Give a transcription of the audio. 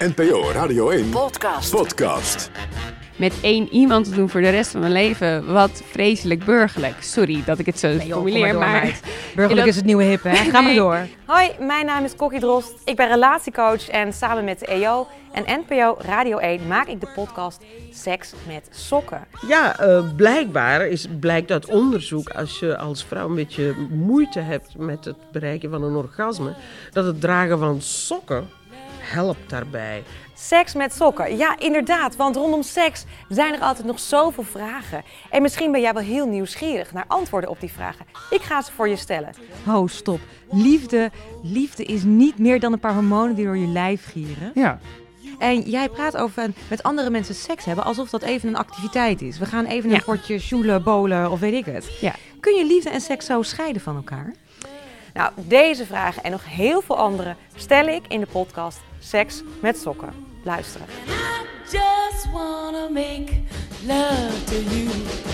NPO Radio 1 Podcast. Podcast. met één iemand te doen voor de rest van mijn leven. Wat vreselijk burgerlijk. Sorry dat ik het zo Nee, joh, kom formuleer, door, maar... meid. Burgerlijk dat- is het nieuwe hip, hè? Ga maar Nee. door. Hoi, mijn naam is Kokkie Drost. Ik ben relatiecoach en samen met de EO en NPO Radio 1 maak ik de podcast Seks met Sokken. Ja, eh, blijkbaar is, blijkt uit onderzoek, als je als vrouw een beetje moeite hebt met het bereiken van een orgasme, dat het dragen van sokken helpt daarbij. Seks met sokken. Ja, inderdaad, want rondom seks zijn er altijd nog zoveel vragen. En misschien ben jij wel heel nieuwsgierig naar antwoorden op die vragen. Ik ga ze voor je stellen. Ho, stop. Liefde, liefde is niet meer dan een paar hormonen die door je lijf gieren. Ja, En jij praat over een- met andere mensen seks hebben alsof dat even een activiteit is. We gaan even Ja. een potje sjoelen, bolen of weet ik het. Ja. Kun je liefde en seks zo scheiden van elkaar? Nou, deze vragen en nog heel veel andere stel ik in de podcast Seks met Sokken. Luisteren. Just wanna make love to you.